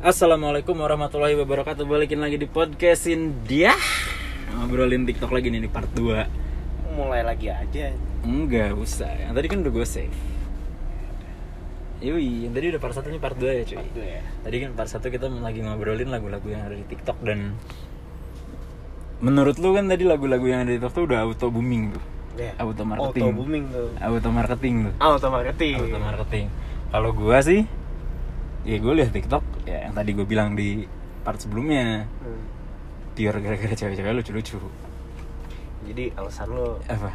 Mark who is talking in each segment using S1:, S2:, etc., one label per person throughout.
S1: Assalamualaikum warahmatullahi wabarakatuh Balikin lagi di podcastin dia Ngobrolin tiktok lagi nih di part 2
S2: mulai lagi aja
S1: Enggak usah Yang tadi kan udah gue save Yui, yang tadi udah part 1 ini part 2 ya cuy
S2: itu ya
S1: Tadi kan part 1 kita lagi ngobrolin lagu-lagu yang ada di tiktok dan Menurut lu kan tadi lagu-lagu yang ada di tiktok tuh udah auto booming tuh
S2: Iya.
S1: Auto marketing
S2: auto booming tuh
S1: Auto marketing tuh
S2: auto marketing
S1: auto marketing kalau gua sih ya gue lihat TikTok ya yang tadi gue bilang di part sebelumnya
S2: Hmm.
S1: pure gara-gara cewek-cewek lucu-lucu
S2: jadi alasan lo
S1: apa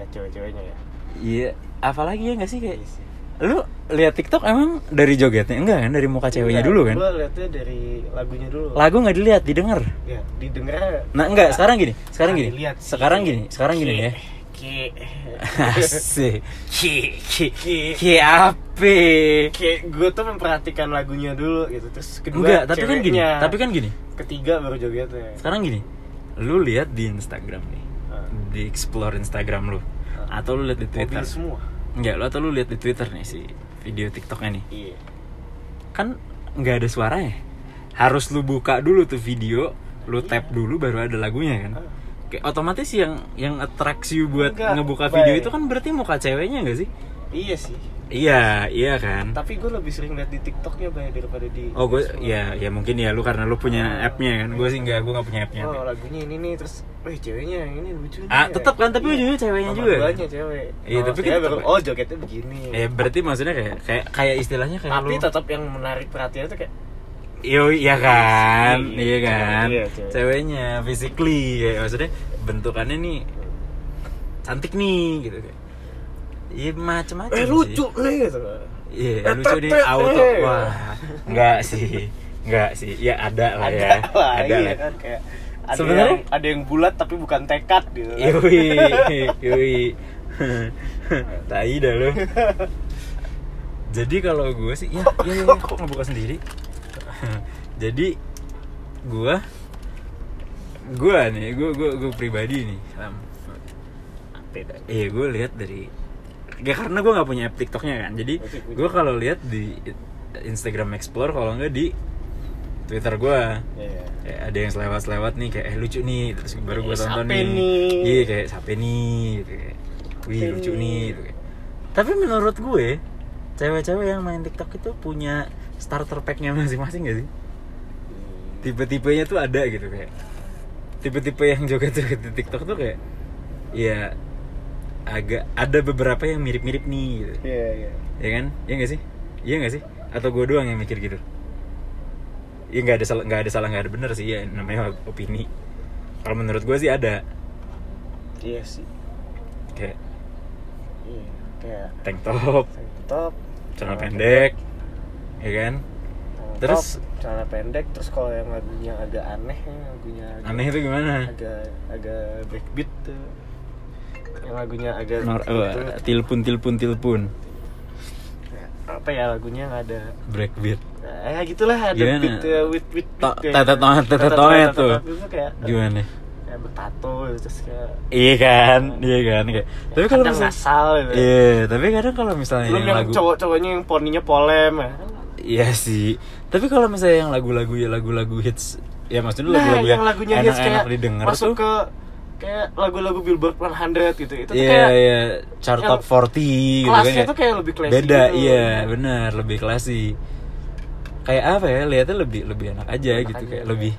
S2: gak cewek-ceweknya ya
S1: iya apalagi ya nggak sih kayak
S2: Iya sih.
S1: lu lihat TikTok emang dari jogetnya enggak kan dari muka ceweknya
S2: Iya.
S1: dulu kan
S2: gue liatnya dari lagunya dulu
S1: lagu nggak dilihat didengar
S2: ya didengar ah,
S1: nah enggak sekarang gini sekarang gini
S2: Dilihat Iya. sih.
S1: sekarang gini sekarang gini ya
S2: ki
S1: sih
S2: ki ki ki
S1: ki apa
S2: kayak gue tuh memperhatikan lagunya dulu gitu terus kedua
S1: enggak tapi kan gini
S2: ceweknya.
S1: tapi kan gini
S2: ketiga baru jogetnya
S1: sekarang gini lu lihat di Instagram nih
S2: Ah.
S1: di explore Instagram lu atau lu lihat di Twitter
S2: mobil semua
S1: enggak lu atau lu lihat di Twitter nih si video TikToknya nih
S2: iya
S1: kan nggak ada suaranya harus lu buka dulu tuh video lu
S2: Iya.
S1: tap dulu baru ada lagunya kan
S2: Ah,
S1: kayak otomatis yang yang attracts you buat
S2: Enggak,
S1: ngebuka video
S2: Bay.
S1: itu kan berarti muka ceweknya enggak sih
S2: iya sih
S1: iya iya kan
S2: tapi gue lebih sering liat di tiktoknya banyak daripada di
S1: oh gue
S2: Facebook.
S1: ya ya mungkin ya lu karena lu punya appnya kan gue sih nggak gue nggak punya appnya
S2: Ah. Oh lagunya ini nih terus, weh ceweknya yang ini lucu nih.
S1: Ah, tetep kan, tapi ujungnya ceweknya
S2: Nomor
S1: juga.
S2: duanya cewek.
S1: Iya,
S2: Nomor
S1: tapi
S2: tiga
S1: kan
S2: baru,
S1: tetep-
S2: oh jogetnya begini.
S1: ya berarti maksudnya kayak kayak kayak istilahnya kayak
S2: tapi
S1: lu-
S2: tetap yang menarik perhatian tuh kayak
S1: Yo, iya kan,
S2: Iya,
S1: iya kan.
S2: cewek, iya, cewek.
S1: Ceweknya physically kayak maksudnya bentukannya nih cantik nih gitu kayak. Iya macam-macam.
S2: eh
S1: sih.
S2: lucu nih gitu.
S1: Iya,
S2: Eh,
S1: lucu nih
S2: tetet,
S1: auto.
S2: eh.
S1: Wah, enggak sih. Enggak sih. Ya ada lah
S2: Ada
S1: ya.
S2: lah,
S1: ada
S2: iya
S1: lah.
S2: kan kayak ada
S1: Sebenarnya- Iya.
S2: yang, ada yang bulat tapi bukan tekad gitu. kan.
S1: Yoi, yoi. Tai dah lu. Jadi kalau gue sih, ya, ya, ya, ya, kok ngebuka sendiri? Jadi gue, gue nih, gue, gue, gue pribadi nih. Lam.
S2: Beda.
S1: Iya, gue lihat dari, ya karena gue nggak punya app TikToknya kan. Jadi gue kalau lihat di Instagram Explore, kalau nggak di Twitter gue,
S2: Iya.
S1: Kayak ada yang selewat-selewat nih kayak eh lucu nih terus baru gue
S2: Eh,
S1: tonton
S2: sape
S1: nih
S2: nih.
S1: iya kayak sape nih gitu kayak wih
S2: Sape
S1: lucu
S2: nih.
S1: nih gitu kayak. tapi menurut gue cewek-cewek yang main tiktok itu punya starter packnya masing-masing gak sih tipe-tipenya tuh ada gitu kayak tipe-tipe yang joget-joget di tiktok tuh kayak ya agak ada beberapa yang mirip-mirip nih gitu
S2: Iya, iya.
S1: ya kan iya nggak sih iya nggak sih atau gue doang yang mikir gitu ya nggak ada salah nggak ada salah nggak ada bener sih ya namanya opini kalau menurut gue sih ada
S2: Iya sih.
S1: kayak
S2: Iya, kayak
S1: tank top
S2: tank top,
S1: celana pendek ya kan
S2: tank
S1: Terus?
S2: top, celana pendek terus kalau yang lagunya agak aneh, ya, lagunya agak
S1: aneh itu gimana
S2: agak agak breakbeat tuh yang lagunya agak
S1: Nor
S2: gitu.
S1: oh, tilpun tilpun tilpun
S2: apa ya lagunya yang ada
S1: breakbeat
S2: ya gitulah ada
S1: Gimana?
S2: beat ya, with with
S1: To- tetet toet, tetet toet tuh.
S2: itu gitu, kayak
S1: gimana
S2: kayak bertato gitu, terus kayak
S1: iya kan iya kan kayak tapi kalau
S2: kadang
S1: misalnya
S2: ngasal gitu
S1: iya tapi kadang kalau misalnya
S2: belum yang cowok-cowoknya yang poninya polem ya.
S1: Iya sih. Tapi kalau misalnya yang lagu-lagu ya lagu-lagu hits, ya maksudnya
S2: nah
S1: lagu-lagu
S2: yang lagunya
S1: enak,
S2: hits kayak
S1: didengar
S2: masuk
S1: tuh.
S2: ke kayak lagu-lagu Billboard 100 gitu itu tuh
S1: Iya,
S2: kayak
S1: iya, chart
S2: yang
S1: top 40 gitu kan.
S2: kelasnya tuh kayak lebih classy
S1: Beda,
S2: gitu.
S1: iya, benar, lebih classy. Kayak apa ya? Lihatnya lebih lebih enak aja gitu,
S2: aja,
S1: kayak
S2: ya.
S1: lebih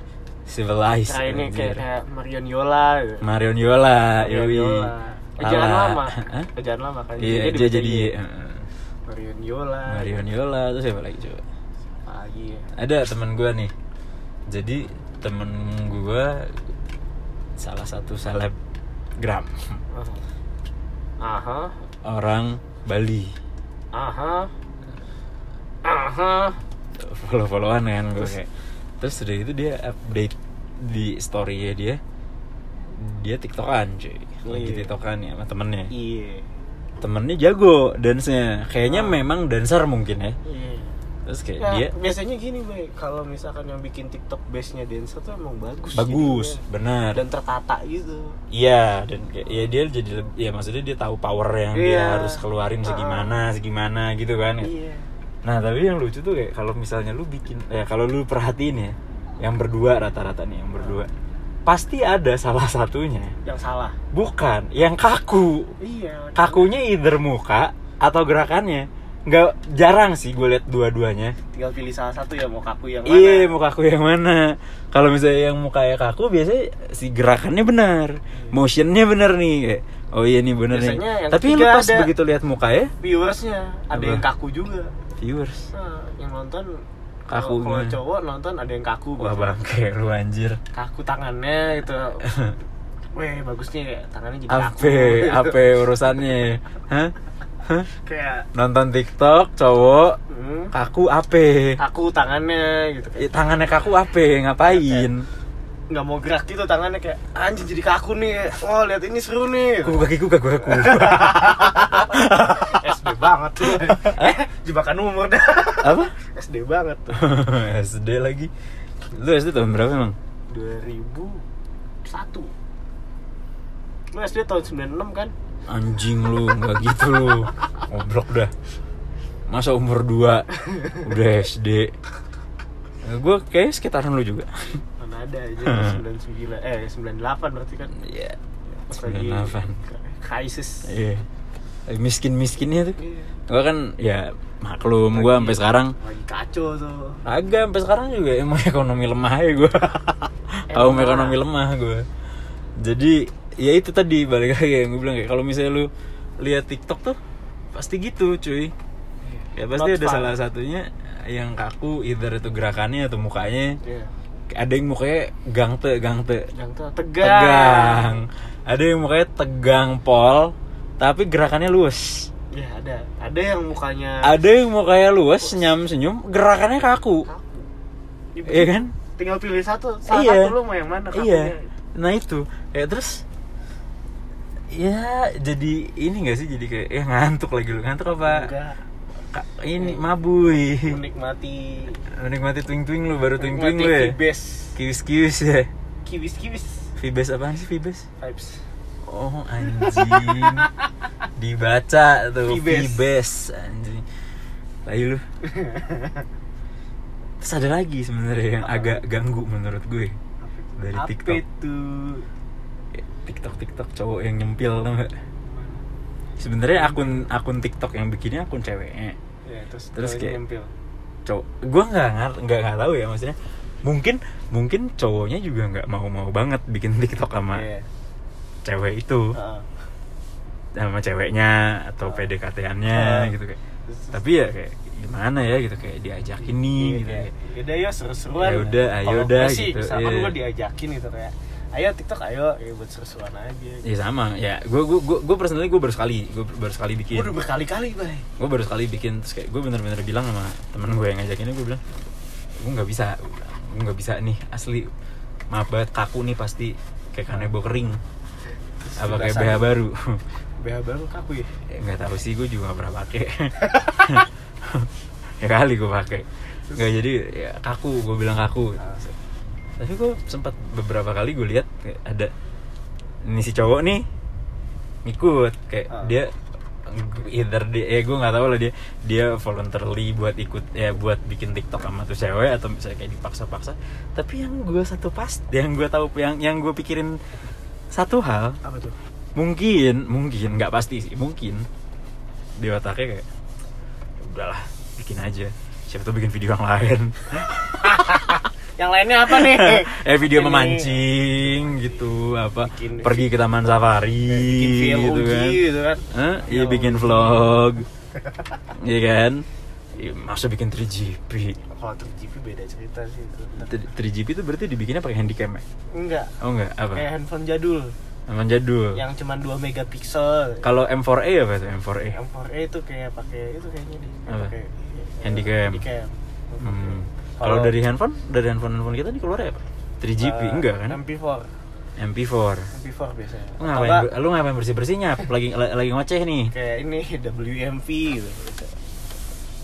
S1: civilized.
S2: kayak Nah, ini
S1: anjir.
S2: kayak kayak Marion Yola gitu.
S1: Marion Yola,
S2: Marion
S1: yoi.
S2: Yola. Eh, jangan
S1: Lala.
S2: lama.
S1: iya. Hah?
S2: Eh, jangan lama kan.
S1: Iya, dia jadi heeh.
S2: Marion Yola.
S1: Marion Yola, terus siapa lagi coba?
S2: Apa lagi ya?
S1: ada temen gue nih jadi temen gue salah satu selebgram
S2: Aha.
S1: orang Bali
S2: Aha. Aha.
S1: follow followan kan gue kayak terus udah itu dia update di story dia dia tiktokan cuy lagi
S2: Iya.
S1: tiktokan ya sama temennya
S2: Iya.
S1: temennya jago dance-nya kayaknya
S2: Ah.
S1: memang dancer mungkin ya
S2: Iya.
S1: terus kayak
S2: Nah,
S1: dia
S2: biasanya gini, Bay. Kalau misalkan yang bikin TikTok base-nya dancer tuh emang bagus.
S1: bagus
S2: jadinya.
S1: benar
S2: Dan tertata gitu.
S1: Iya dan kayak ya dia jadi leb- ya maksudnya dia tahu power yang dia
S2: Iya.
S1: harus keluarin
S2: Ah.
S1: segimana segimana gitu kan.
S2: Iya.
S1: Nah tapi yang lucu tuh kayak kalau misalnya lu bikin ya kalau lu perhatiin ya yang berdua rata-rata nih yang berdua pasti ada salah satunya
S2: yang salah
S1: bukan yang kaku
S2: iya
S1: kakunya either muka atau gerakannya nggak jarang sih gue liat dua-duanya
S2: tinggal pilih salah satu ya mau kaku yang mana
S1: iya muka aku yang mana kalau misalnya yang mukanya kaku biasanya si gerakannya benar motionnya benar nih kayak, oh iya nih benar nih
S2: Hmm. Biasanya yang
S1: tapi lu
S2: ketiga
S1: pas
S2: ada.
S1: begitu lihat mukanya
S2: viewersnya ada
S1: Apa?
S2: yang kaku juga
S1: viewers
S2: Nah, yang nonton
S1: Kaku
S2: kalau- kalau
S1: gimana?
S2: cowok nonton ada yang kaku
S1: wah
S2: gitu.
S1: bangke lu anjir
S2: kaku tangannya gitu Weh, bagusnya ya, tangannya jadi kaku
S1: ape
S2: gitu.
S1: ape urusannya hah Hah?
S2: Kayak
S1: nonton TikTok cowok
S2: hmm,
S1: kaku ape
S2: kaku tangannya gitu kayak
S1: Ya, tangannya kaku ape ngapain
S2: nggak mau gerak gitu tangannya kayak anjing jadi kaku nih oh lihat ini seru nih
S1: kaku kakiku kaku kaku
S2: SD banget tuh eh jebakan umur dah
S1: apa
S2: SD banget tuh
S1: SD lagi lu SD tahun berapa emang
S2: 2001 lu SD tahun 96 kan
S1: anjing lu nggak gitu lu ngobrol dah masa umur 2 udah SD gue kayak sekitaran lu juga
S2: mana ada aja
S1: Hmm.
S2: 99 eh 98 berarti kan
S1: iya
S2: Pas lagi
S1: 98.
S2: krisis
S1: iya miskin miskinnya tuh
S2: Iya.
S1: gue kan ya maklum gue sampai sekarang
S2: lagi kacau tuh
S1: Iya. Agak sampai sekarang juga emang ekonomi lemah ya gue. Kaum
S2: Emang.
S1: ekonomi lemah gue. Jadi ya itu tadi balik lagi yang gue bilang kayak kalau misalnya lu lihat TikTok tuh pasti gitu cuy. Ya pasti
S2: Not
S1: ada
S2: fun.
S1: salah satunya yang kaku either itu gerakannya atau mukanya.
S2: Iya.
S1: Ada yang mukanya gangte gangte
S2: yang tuh tegang,
S1: tegang. Ada yang mukanya tegang pol tapi gerakannya luwes.
S2: ya ada ada yang mukanya
S1: Ada yang mukanya luwes senyum-senyum gerakannya kaku.
S2: kaku
S1: Iya kan?
S2: tinggal pilih satu salah
S1: Iya.
S2: satu lu mau yang mana
S1: iya
S2: kakunya.
S1: nah itu ya terus ya jadi ini gak sih jadi kayak ya ngantuk lagi lu ngantuk apa
S2: enggak
S1: Ka- ini mabui
S2: menikmati
S1: menikmati twing twing lu baru twing twing lu
S2: menikmati
S1: ya
S2: kibes
S1: kiwis kiwis ya
S2: kibis kibis
S1: vibes apaan sih vibes
S2: vibes
S1: oh anjing dibaca tuh
S2: Vibes.
S1: vibes anjing Lalu lu terus ada lagi sebenarnya yang agak ganggu menurut gue dari
S2: apa
S1: TikTok
S2: itu
S1: TikTok TikTok cowok yang nyempil tau nggak? Sebenarnya akun akun TikTok yang bikinnya akun ceweknya.
S2: ya, terus
S1: Terus
S2: cewek
S1: kayak-
S2: nyempil
S1: Cowok, gue nggak ngar- nggak nggak tahu ya maksudnya. Mungkin mungkin cowoknya juga nggak mau mau banget bikin TikTok sama
S2: Iya. Ah.
S1: cewek itu,
S2: Heeh.
S1: sama ceweknya atau
S2: Ah. Ah.
S1: PDKT-annya gitu kayak.
S2: Terus-
S1: Tapi ya kayak gimana ya gitu kayak diajakin nih
S2: Iya,
S1: gitu.
S2: kayak,
S1: kayak,
S2: Yaudah ya seru-seruan
S1: Ya udah, ayo
S2: Kalau
S1: udah,
S2: gue sih,
S1: gitu,
S2: Misalkan
S1: iya.
S2: gue diajakin gitu kayak Ayo TikTok ayo ya buat seru-seruan aja
S1: Ya sama ya. Gue gue gue gue personally gue baru sekali gue baru sekali bikin.
S2: Gue udah berkali-kali bay
S1: gue baru sekali bikin terus kayak gue bener-bener bilang sama temen gue yang ngajakinnya gue bilang gue nggak bisa Gua bilang, gue nggak bisa nih asli maaf banget kaku nih pasti
S2: Ah.
S1: kayak kanebo kering
S2: Terus
S1: apa kayak
S2: dirasain.
S1: BH baru
S2: BH baru kaku ya
S1: Ya, nggak tahu sih gue juga nggak pernah pakai ya kali gue pakai nggak jadi ya, kaku gue bilang kaku
S2: Ah.
S1: tapi gue sempat beberapa kali gue lihat kayak ada ini si cowok nih ngikut kayak
S2: Ah.
S1: dia either dia eh gue nggak tahu lah dia dia voluntarily buat ikut ya buat bikin TikTok sama tuh cewek atau misalnya kayak dipaksa-paksa tapi yang gue satu pas yang gue tahu yang yang gue pikirin satu hal
S2: Apa tuh?
S1: mungkin mungkin nggak pasti sih mungkin di otaknya kayak "Ya udahlah bikin aja siapa tuh bikin video yang lain
S2: Yang lainnya apa nih?
S1: eh video
S2: Ini.
S1: memancing gitu apa
S2: Bikin-
S1: pergi ke taman safari
S2: Bikin VLOG
S1: gitu kan
S2: gitu kan
S1: Hah? Iya bikin vlog Iya kan Iya, Masa bikin 3GP
S2: Kalau 3GP beda cerita sih itu.
S1: Nah, 3GP itu berarti dibikinnya pakai handycam ya?
S2: Enggak
S1: Oh enggak,
S2: Kayak
S1: apa?
S2: handphone jadul
S1: Emang jadul
S2: Eh. Yang cuman 2 megapiksel
S1: Kalau M4A apa itu M4A?
S2: M4A itu kayak pakai itu kayaknya deh
S1: Apa?
S2: Pakai, eh,
S1: Handycam.
S2: Handycam
S1: Hmm. Kalau dari handphone, dari handphone-handphone kita nih keluar apa? 3GP,
S2: Eh,
S1: enggak kan?
S2: MP4
S1: MP4
S2: MP4 biasanya
S1: Lu
S2: Atau
S1: ngapain,
S2: enggak,
S1: lu ngapain bersih-bersihnya? Lagi lagi ngoceh nih
S2: kayak ini WMV gitu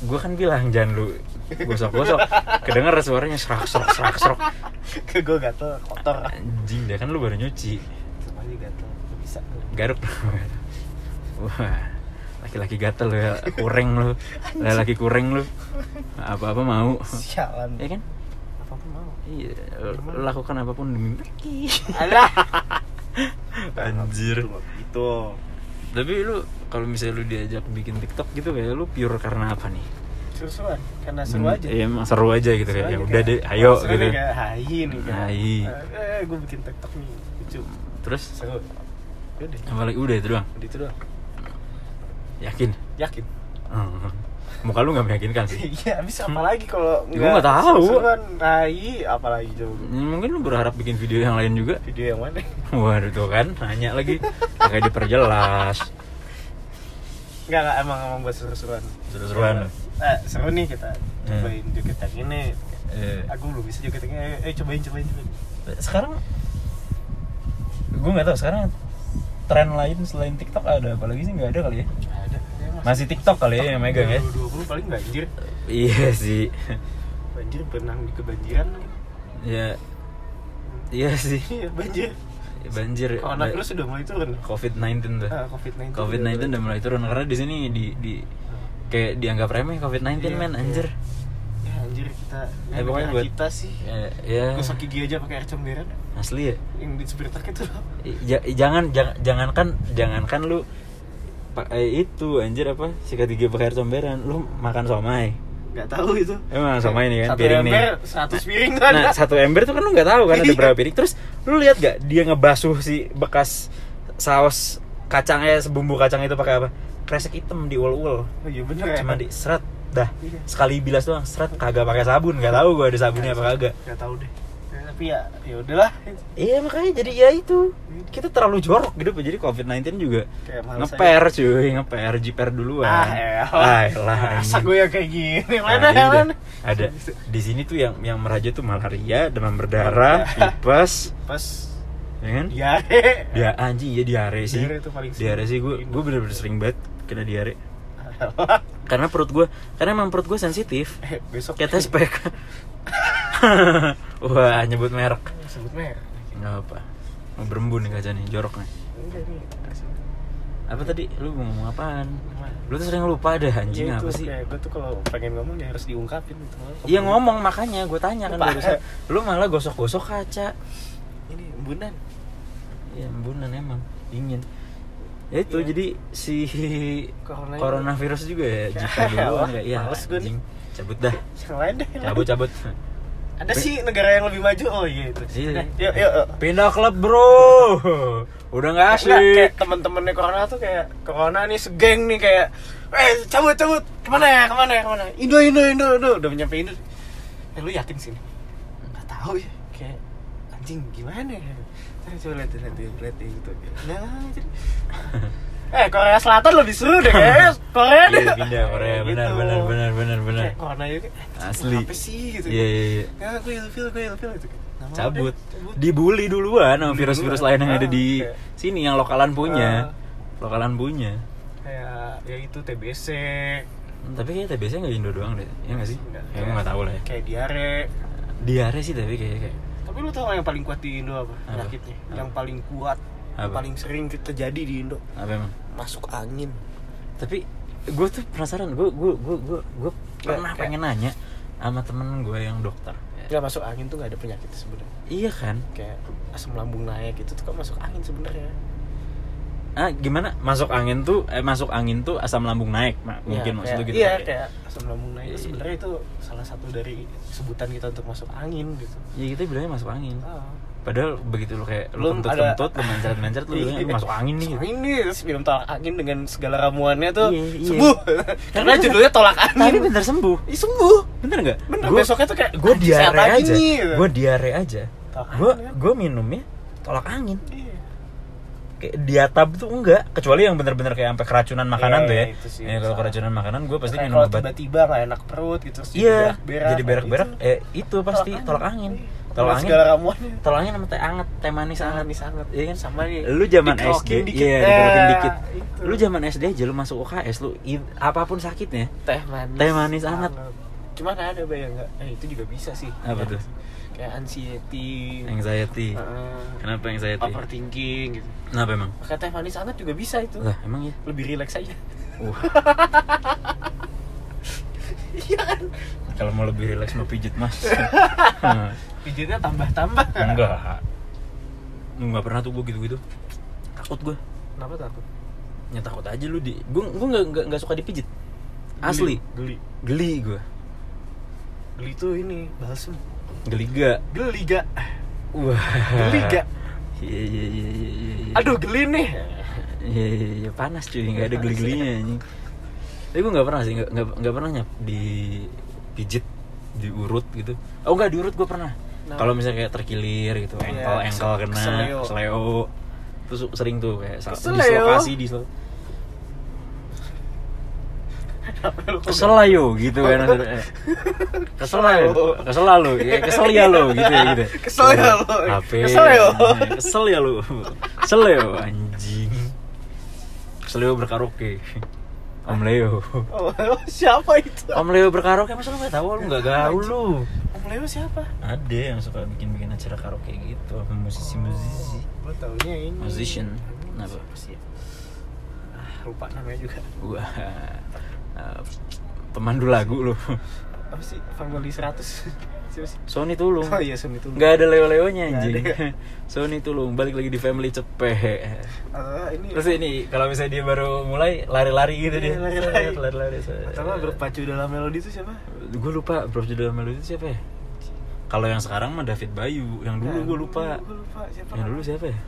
S1: Gue kan bilang jangan lu gosok-gosok Kedenger suaranya serak-serak, serak-serak
S2: ke gue gatel kotor
S1: Anjing, dah kan lu baru nyuci
S2: semuanya gatel nggak bisa
S1: Garuk. Wah. laki-laki gatel lu ya kureng lu laki-laki kureng lu apa-apa mau
S2: Sialan.
S1: ya kan
S2: Apa pun mau.
S1: iya lu lakukan apapun demi Becky
S2: Alah.
S1: Anjir.
S2: Itu.
S1: tapi lu kalau misalnya lu diajak bikin TikTok gitu kayak lu pure karena apa nih
S2: Seru-seruan. Karena Nah, seru aja.
S1: ya emang seru aja gitu
S2: Seru
S1: kayak ya
S2: aja,
S1: udah
S2: kayak,
S1: deh ayo
S2: seru
S1: gitu
S2: nih, kayak, Hai nih kan.
S1: Hai.
S2: Eh, gue bikin TikTok nih. Lucu.
S1: terus
S2: Seru. Udah.
S1: apalagi udah itu doang
S2: Udah itu doang.
S1: yakin
S2: Yakin.
S1: Hmm. muka lu nggak meyakinkan sih
S2: Iya, habis apa lagi kalau
S1: Ya, gua nggak tahu.
S2: seru-seruan? Hai, apa lagi coba?
S1: Ya, mungkin lu berharap bikin video yang lain juga
S2: Video yang mana?
S1: waduh tuh kan nanya lagi kayak diperjelas
S2: Enggak, enggak emang emang buat seru-seruan.
S1: Seru-seruan.
S2: Eh, seru nih kita
S1: Eh.
S2: cobain joget yang ini.
S1: Eh,
S2: Aku belum bisa joget yang ini. Eh, eh, cobain cobain cobain.
S1: sekarang gue nggak tahu sekarang tren lain selain TikTok ada apa lagi sih nggak ada kali ya
S2: Nggak ada. Ya, Mas.
S1: masih TikTok kali ya yang megang ya
S2: 2020 paling banjir.
S1: iya sih
S2: Banjir berenang di kebanjiran.
S1: ya iya sih
S2: Iya, banjir.
S1: banjir
S2: Kalau anak lu sudah mulai turun.
S1: COVID 19 tuh
S2: Ah, COVID-19.
S1: COVID-19 udah mulai turun karena di sini di di
S2: Eh,
S1: kayak dianggap remeh COVID-19
S2: Iya,
S1: men
S2: iya.
S1: anjir
S2: Ya anjir kita.
S1: Eh,
S2: Ya,
S1: pokoknya
S2: pokoknya
S1: buat-
S2: kita sih.
S1: ya, ya.
S2: Gosok gigi aja pakai air cemberan.
S1: asli ya
S2: Yang di supir truk itu loh.
S1: Ja- jangan jangan jangankan jangankan lu pakai itu anjir apa sikat gigi pakai air comberan lu makan somai
S2: Gak tahu itu.
S1: Emang sama ini kan
S2: Satu
S1: piring nih.
S2: ember, 100 piring tuh ada.
S1: Nah, satu ember tuh kan lu nggak tahu kan
S2: Iya.
S1: ada berapa piring. Terus lu lihat gak dia ngebasuh si bekas saus kacangnya sebumbu kacang itu pakai apa? Kresek hitam diul-ul.
S2: Oh iya bener ya.
S1: Cuma di seret dah.
S2: Iya.
S1: Sekali bilas doang seret kagak pakai sabun, nggak tahu gua ada sabunnya apa kagak.
S2: Gak tahu deh. Ya, tapi ya ya udahlah.
S1: Iya makanya jadi ya itu.
S2: Iya.
S1: Kita terlalu jorok gitu jadi COVID-19 juga
S2: Kayak males
S1: ngeper cuy, ngeper jiper duluan.
S2: Ah, elah.
S1: elah. anjing. Ah, iya.
S2: Masa gue yang kayak gini? Yang mana?
S1: Ada,
S2: Yang mana?
S1: ada. Di sini tuh yang yang meraja tuh malaria, demam berdarah, tipes,
S2: Pas
S1: ya kan?
S2: diare.
S1: Dia anjing ya diare sih.
S2: Diare tuh paling sering.
S1: Diare sih gue gue bener-bener sering banget kena diare.
S2: Alah.
S1: Karena perut gue, karena emang perut gue sensitif.
S2: Eh, besok
S1: Kayak tespek. Wah, nyebut merek.
S2: sebut merek.
S1: Enggak apa. Mau berembun nih kaca nih, jorok nih.
S2: Enggak nih. kasih.
S1: Apa tadi? Lu mau ngomong apaan?
S2: Gimana?
S1: Lu tuh sering lupa deh anjing
S2: Ya, itu
S1: apa sih?
S2: Kayak gue tuh kalau pengen ngomong ya harus diungkapin gitu.
S1: Iya ngomong makanya gue tanya kan
S2: Lupa.
S1: barusan. Lu malah gosok-gosok kaca.
S2: Ini bunan.
S1: Iya, embunan emang dingin. Ya itu
S2: Iya.
S1: jadi si
S2: Corona ini.
S1: coronavirus juga ya jika dulu
S2: Wah,
S1: kayak ya
S2: males gue nih.
S1: anjing cabut dah.
S2: Yang lain deh. yang lain.
S1: Cabut cabut.
S2: Ada sih negara yang lebih maju. Oh iya itu.
S1: Iya.
S2: Udah, Yuk yuk. yuk.
S1: Pindah klub, Bro. Udah nggak
S2: Enggak, kayak
S1: asik.
S2: temen-temennya Corona tuh kayak Corona nih segeng nih kayak eh cabut cabut kemana ya kemana ya kemana Indo Indo Indo Indo udah nyampe Indo eh lu yakin sini nggak tahu ya kayak anjing gimana ya Ntar coba lihat lihat lihat lihat deh, gitu nah jadi eh Korea Selatan lebih seru deh kayak Korea deh
S1: Iya, pindah Korea. Benar,
S2: Gitu.
S1: benar, benar, benar, benar.
S2: Kayak Corona juga eh,
S1: Asli.
S2: apa sih gitu
S1: Iya, iya, iya.
S2: Nah, gue ilfil, gue ilfil gitu. Nggak mau
S1: Oh, Cabut.
S2: deh,
S1: Dibully duluan sama
S2: Dibully
S1: virus-virus
S2: duluan.
S1: lain yang ada di
S2: Ah, kayak-
S1: sini yang lokalan punya.
S2: Ah.
S1: Lokalan punya.
S2: kayak ya itu TBC
S1: Hmm, Tapi kayaknya TBC nggak Indo doang deh, ya nggak sih?
S2: Nggak.
S1: Ya gue nggak tahu lah ya.
S2: kayak diare
S1: Diare sih tapi kayaknya kayak
S2: tapi lu tau nggak yang paling kuat di Indo apa
S1: Apa?
S2: penyakitnya
S1: Apa?
S2: yang paling kuat yang
S1: Apa?
S2: paling sering terjadi di Indo
S1: apa emang?
S2: masuk angin
S1: tapi gue tuh penasaran gue gue gue gue gue pernah
S2: Kayak- Iya.
S1: pengen nanya sama temen gue yang dokter
S2: nggak masuk angin tuh nggak ada penyakit sebenarnya
S1: iya kan
S2: kayak asam lambung naik gitu tuh kan masuk angin sebenarnya
S1: ah gimana masuk angin tuh eh, masuk angin tuh asam lambung naik Ma- mungkin
S2: Ya,
S1: maksud lu
S2: kayak-
S1: gitu
S2: iya
S1: kali ya?
S2: kayak asam lambung naik itu
S1: Iya.
S2: sebenarnya itu salah satu dari sebutan kita untuk masuk angin gitu
S1: ya kita bilangnya masuk angin
S2: Ah.
S1: padahal begitu lu kayak lu
S2: Belum
S1: kentut
S2: ada-
S1: kentut lu mencret mencret lu bilangnya lu Iya. masuk angin nih
S2: Masuk
S1: gitu.
S2: angin nih terus minum tolak angin dengan segala ramuannya tuh
S1: Iya, iya.
S2: sembuh karena
S1: bener-
S2: judulnya tolak
S1: tapi
S2: angin
S1: bener sembuh
S2: Ih, sembuh
S1: bener nggak
S2: Bener,
S1: Gua-
S2: besoknya tuh kayak,
S1: gue
S2: "Anjing,
S1: diare
S2: sehat lagi
S1: aja
S2: nih, gitu.
S1: gue diare aja
S2: Tolak
S1: gue
S2: angin, kan?
S1: gue minumnya tolak angin
S2: Iya.
S1: kayak diatab tuh enggak kecuali yang bener-bener kayak sampai keracunan makanan
S2: Iya,
S1: tuh ya
S2: itu sih
S1: ya kalau
S2: masalah.
S1: keracunan makanan gue pasti
S2: Kayak
S1: minum
S2: kalau
S1: obat
S2: tiba-tiba nggak enak perut gitu terus
S1: iya
S2: berak-berak,
S1: jadi berak-berak
S2: gitu. Iya,
S1: eh itu pasti tolak angin tolak angin
S2: segala ramuannya
S1: tolak angin sama teh anget teh manis anget
S2: Manis anget.
S1: iya kan
S2: Sama nih,
S1: lu zaman
S2: dikerokin
S1: SD
S2: dikit.
S1: iya
S2: Eh,
S1: dikerokin dikit
S2: itu.
S1: lu zaman SD aja lu masuk UKS lu i- apapun sakitnya
S2: teh manis
S1: Teh manis anget.
S2: cuman ada bayang nggak eh itu juga bisa sih
S1: Apa tuh?
S2: kayak anxiety
S1: anxiety
S2: eh,
S1: kenapa anxiety
S2: overthinking gitu
S1: kenapa emang
S2: pakai teh manis anget juga bisa itu
S1: lah emang ya
S2: lebih rileks aja
S1: Wah,
S2: Iya kan?
S1: kalau mau lebih relax mau pijit mas. Hmm,
S2: Pijitnya tambah-tambah.
S1: Enggak. Enggak pernah tuh gue gitu-gitu. Takut gue.
S2: Kenapa takut?
S1: Ya takut aja lu di. Gue gue nggak nggak- nggak suka dipijit. Asli.
S2: Geli.
S1: Geli gue.
S2: Geli tuh ini balsem.
S1: Geliga.
S2: Geli gak?
S1: Wah.
S2: Geli gak?
S1: Iya iya iya iya. iya, iya.
S2: Aduh geli nih.
S1: Iya iya iya panas cuy nggak ada geli-gelinya
S2: iya.
S1: anjing. Tapi gue nggak pernah sih nggak nggak nggak pernah nyap di pijit diurut gitu. Oh nggak diurut gue pernah.
S2: Nah.
S1: Kalau misalnya kayak terkilir gitu,
S2: Iya,
S1: engkel engkel
S2: kesel-
S1: kena,
S2: keseleo.
S1: seleo. Terus sering tuh kayak sal-
S2: Keseleo.
S1: dislokasi dislokasi. kesel lah yo gitu kan maksudnya. kesel lah yo kesel lah lo ya kesel ya lo gitu ya gitu
S2: Kesel ya lo.
S1: HP
S2: Kesel ya lo.
S1: kesel ya lo kesel ya lo, anjing kesel ya lo berkaraoke Om Leo
S2: Oh, siapa itu?
S1: Om Leo berkaraoke masa lo gak tau lo gak Oh, gaul lo
S2: Om Leo siapa?
S1: ada yang suka bikin bikin acara karaoke gitu sama musisi musisi
S2: Gue taunya ini.
S1: Musician. Kenapa?
S2: Kenapa? sih? Ah, lupa namanya juga.
S1: wah eh, pemandu lagu lo
S2: Apa sih? Family 100. Siapa sih?
S1: Sony Tulung
S2: Oh iya, Sun itu.
S1: nggak ada leo leonya
S2: Nggak
S1: anjing
S2: ada.
S1: Sony Tulung balik lagi di family cepet
S2: Ah, ini.
S1: Terus ini kalau misalnya dia baru mulai lari-lari gitu dia.
S2: Iya, lari-lari.
S1: Lari-lari.
S2: Atau nggak berpacu dalam melodi itu siapa?
S1: Gue lupa Bro judul melodi itu siapa ya? Kalau yang sekarang mah David Bayu, yang dulu
S2: Nah,
S1: gue lupa.
S2: Gue lupa siapa?
S1: Yang dulu siapa ya?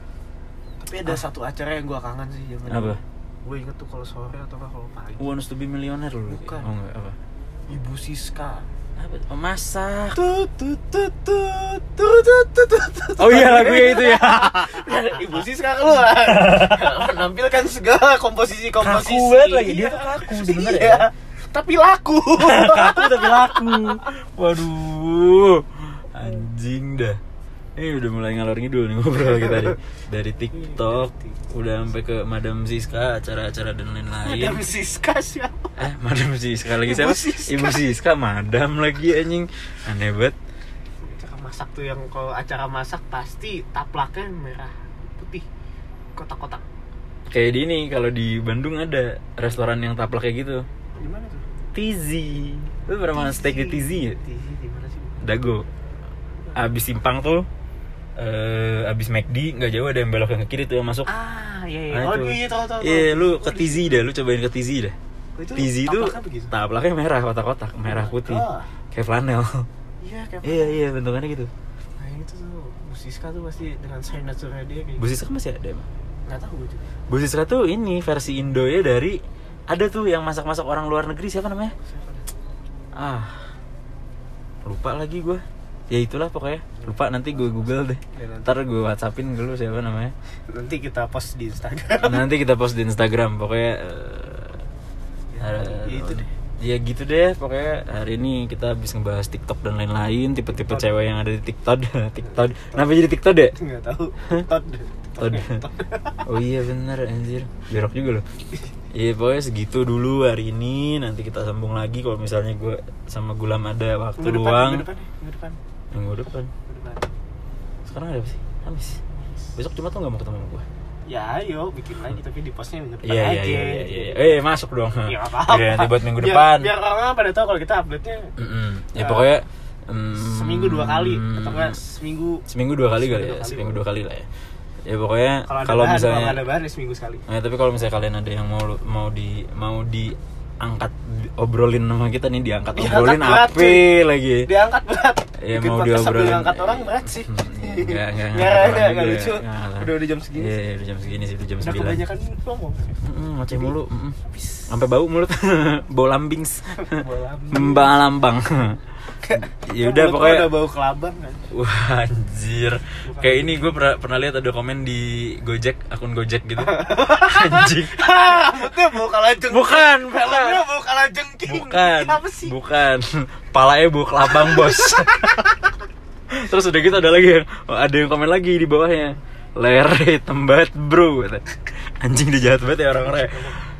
S2: Tapi ada satu acara yang gue kangen sih yang
S1: Apa?
S2: Gue inget tuh kalau sore atau nggak kalau pagi.
S1: Who Wants to be Millionaire dulu.
S2: Bukan.
S1: Oh enggak apa.
S2: Ibu Siska.
S1: Apa? Oh, masak.
S2: Tut tut tut tut tut tut tut, tut, tut.
S1: Oh iya lagunya itu ya.
S2: Ibu Siska keluar. Menampilkan segala komposisi komposisi.
S1: Kaku banget lagi dia tuh kaku sebenarnya. ya.
S2: Iya. Tapi laku.
S1: Kaku tapi laku. Waduh. Anjing dah. Ini udah mulai ngalor ngidul nih ngobrol kita nih. Iya, Dari TikTok udah sampai ke Madam Siska acara-acara dan lain-lain.
S2: Ibu Siska siapa?
S1: Eh, Madam Siska lagi
S2: Ibu
S1: siapa?
S2: Siska.
S1: Ibu Siska, Madam lagi anjing. Aneh banget.
S2: Acara masak tuh yang kalau acara masak pasti taplaknya merah putih kotak-kotak.
S1: Kayak di ini kalau di Bandung ada restoran yang taplak kayak gitu.
S2: Gimana tuh?
S1: Tizi. Lu pernah makan steak di Tizi ya?
S2: Tizi di mana sih?
S1: Dago. Abis simpang tuh eh abis McD nggak jauh ada yang belok yang ke kiri tuh yang masuk.
S2: Ah, iya iya.
S1: Nah,
S2: Oh,
S1: itu.
S2: iya tahu tahu. Oh,
S1: Iya, lu ke Tizi dah, lu cobain ke Tizi dah. Tizi itu
S2: gitu?
S1: taplaknya merah kotak-kotak, merah putih.
S2: Oh.
S1: Kayak flanel.
S2: Iya, kayak
S1: iya, iya, bentukannya gitu.
S2: Nah, itu tuh Bu Siska tuh pasti dengan signature-nya dia kayak
S1: Bu Siska masih ada emang?
S2: Enggak tahu gue juga.
S1: Bu Siska tuh ini versi Indo ya dari ada tuh yang masak-masak orang luar negeri siapa namanya?
S2: Siapa dah?
S1: Ah. Lupa lagi gue. Ya itulah pokoknya. Lupa nanti gue Google deh. Ntar gue WhatsAppin dulu siapa namanya.
S2: Nanti kita post di Instagram.
S1: Nanti kita post di Instagram pokoknya eh,
S2: Ya, itu deh.
S1: Ya gitu deh, pokoknya hari ini kita habis ngebahas TikTok dan lain-lain, tipe-tipe cewek yang ada di TikTok, TikTok. Kenapa jadi TikTok deh?
S2: Enggak tahu. Todd.
S1: Todd. Oh iya bener anjir Jorok juga loh Iya pokoknya segitu dulu hari ini Nanti kita sambung lagi kalau misalnya gue sama Gulam ada waktu
S2: Minggu depan,
S1: luang
S2: minggu depan, minggu depan.
S1: Minggu depan
S2: Minggu depan.
S1: Sekarang ada apa sih? Habis Besok cuma tuh gak mau ketemu sama gue
S2: Ya, ayo bikin lagi tapi di postnya minggu depan
S1: Iya iya
S2: aja.
S1: iya iya iya. Eh masuk dong
S2: Ya, apa-apa.
S1: Biar nanti buat minggu
S2: Biar-
S1: depan
S2: Biar orang pada tahu kalau kita update-nya
S1: Mm-mm. Ya
S2: Ya.
S1: pokoknya mm,
S2: seminggu dua kali atau enggak seminggu
S1: Seminggu dua kali kali ya
S2: Seminggu dua kali.
S1: Seminggu dua kali lah ya Ya pokoknya kalau
S2: kalau ada bahan, kalau
S1: misalnya
S2: nggak ada bahan ya seminggu sekali.
S1: Nah, tapi kalau misalnya kalian ada yang mau mau di mau diangkat di- obrolin sama kita nih diangkat
S2: Diangkat
S1: obrolin
S2: berat,
S1: apa
S2: cuy.
S1: lagi?
S2: Diangkat berat.
S1: Ya, Iya.
S2: Bikin
S1: mau
S2: podcast sambil
S1: diobrolin.
S2: Diangkat orang berat sih.
S1: Hmm, nggak- nggak
S2: Nggak,
S1: ngangkat
S2: nggak,
S1: orang
S2: nggak
S1: juga. ya.
S2: lucu.
S1: Nggak ngangkat.
S2: Udah udah jam segini.
S1: Iya, iya, udah jam segini sih, udah jam
S2: Udah
S1: 9.
S2: kebanyakan ngomong.
S1: Heeh, ngoceh mulu. Mm-mm. Sampai bau mulut. bau lambings.
S2: Bola.
S1: Mbak lambang. ya udah
S2: Mulut lu
S1: pokoknya
S2: udah bau kelabang kan.
S1: Wah anjir Kayak ini gue pernah, pernah lihat ada komen di Gojek Akun Gojek gitu Anjing
S2: Rambutnya bau kalajeng.
S1: Bukan, bukan
S2: Rambutnya bau kalajengking.
S1: Bukan.
S2: Apa sih?
S1: Bukan. Palanya buk labang, Bos. Terus udah gitu ada lagi yang oh, ada yang komen lagi di bawahnya. Lere tembat, Bro. kata. Anjing dia jahat banget ya orang-orang.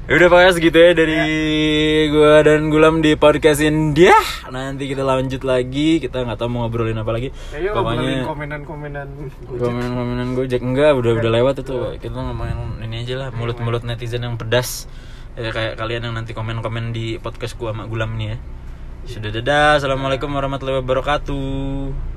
S1: Ya udah pokoknya segitu ya dari gua dan Gulam di podcast India. Nanti kita lanjut lagi, kita nggak tahu mau ngobrolin apa lagi.
S2: Kayaknya Ya, ngobrolin komenan-komenan Gojek.
S1: Komen-komenan Gojek enggak udah udah lewat itu. Kita ngomongin ini aja lah mulut-mulut netizen yang pedas. ya kayak kalian yang nanti komen-komen di podcast gua sama Gulam nih ya. Sudah dadah. Assalamualaikum warahmatullahi wabarakatuh.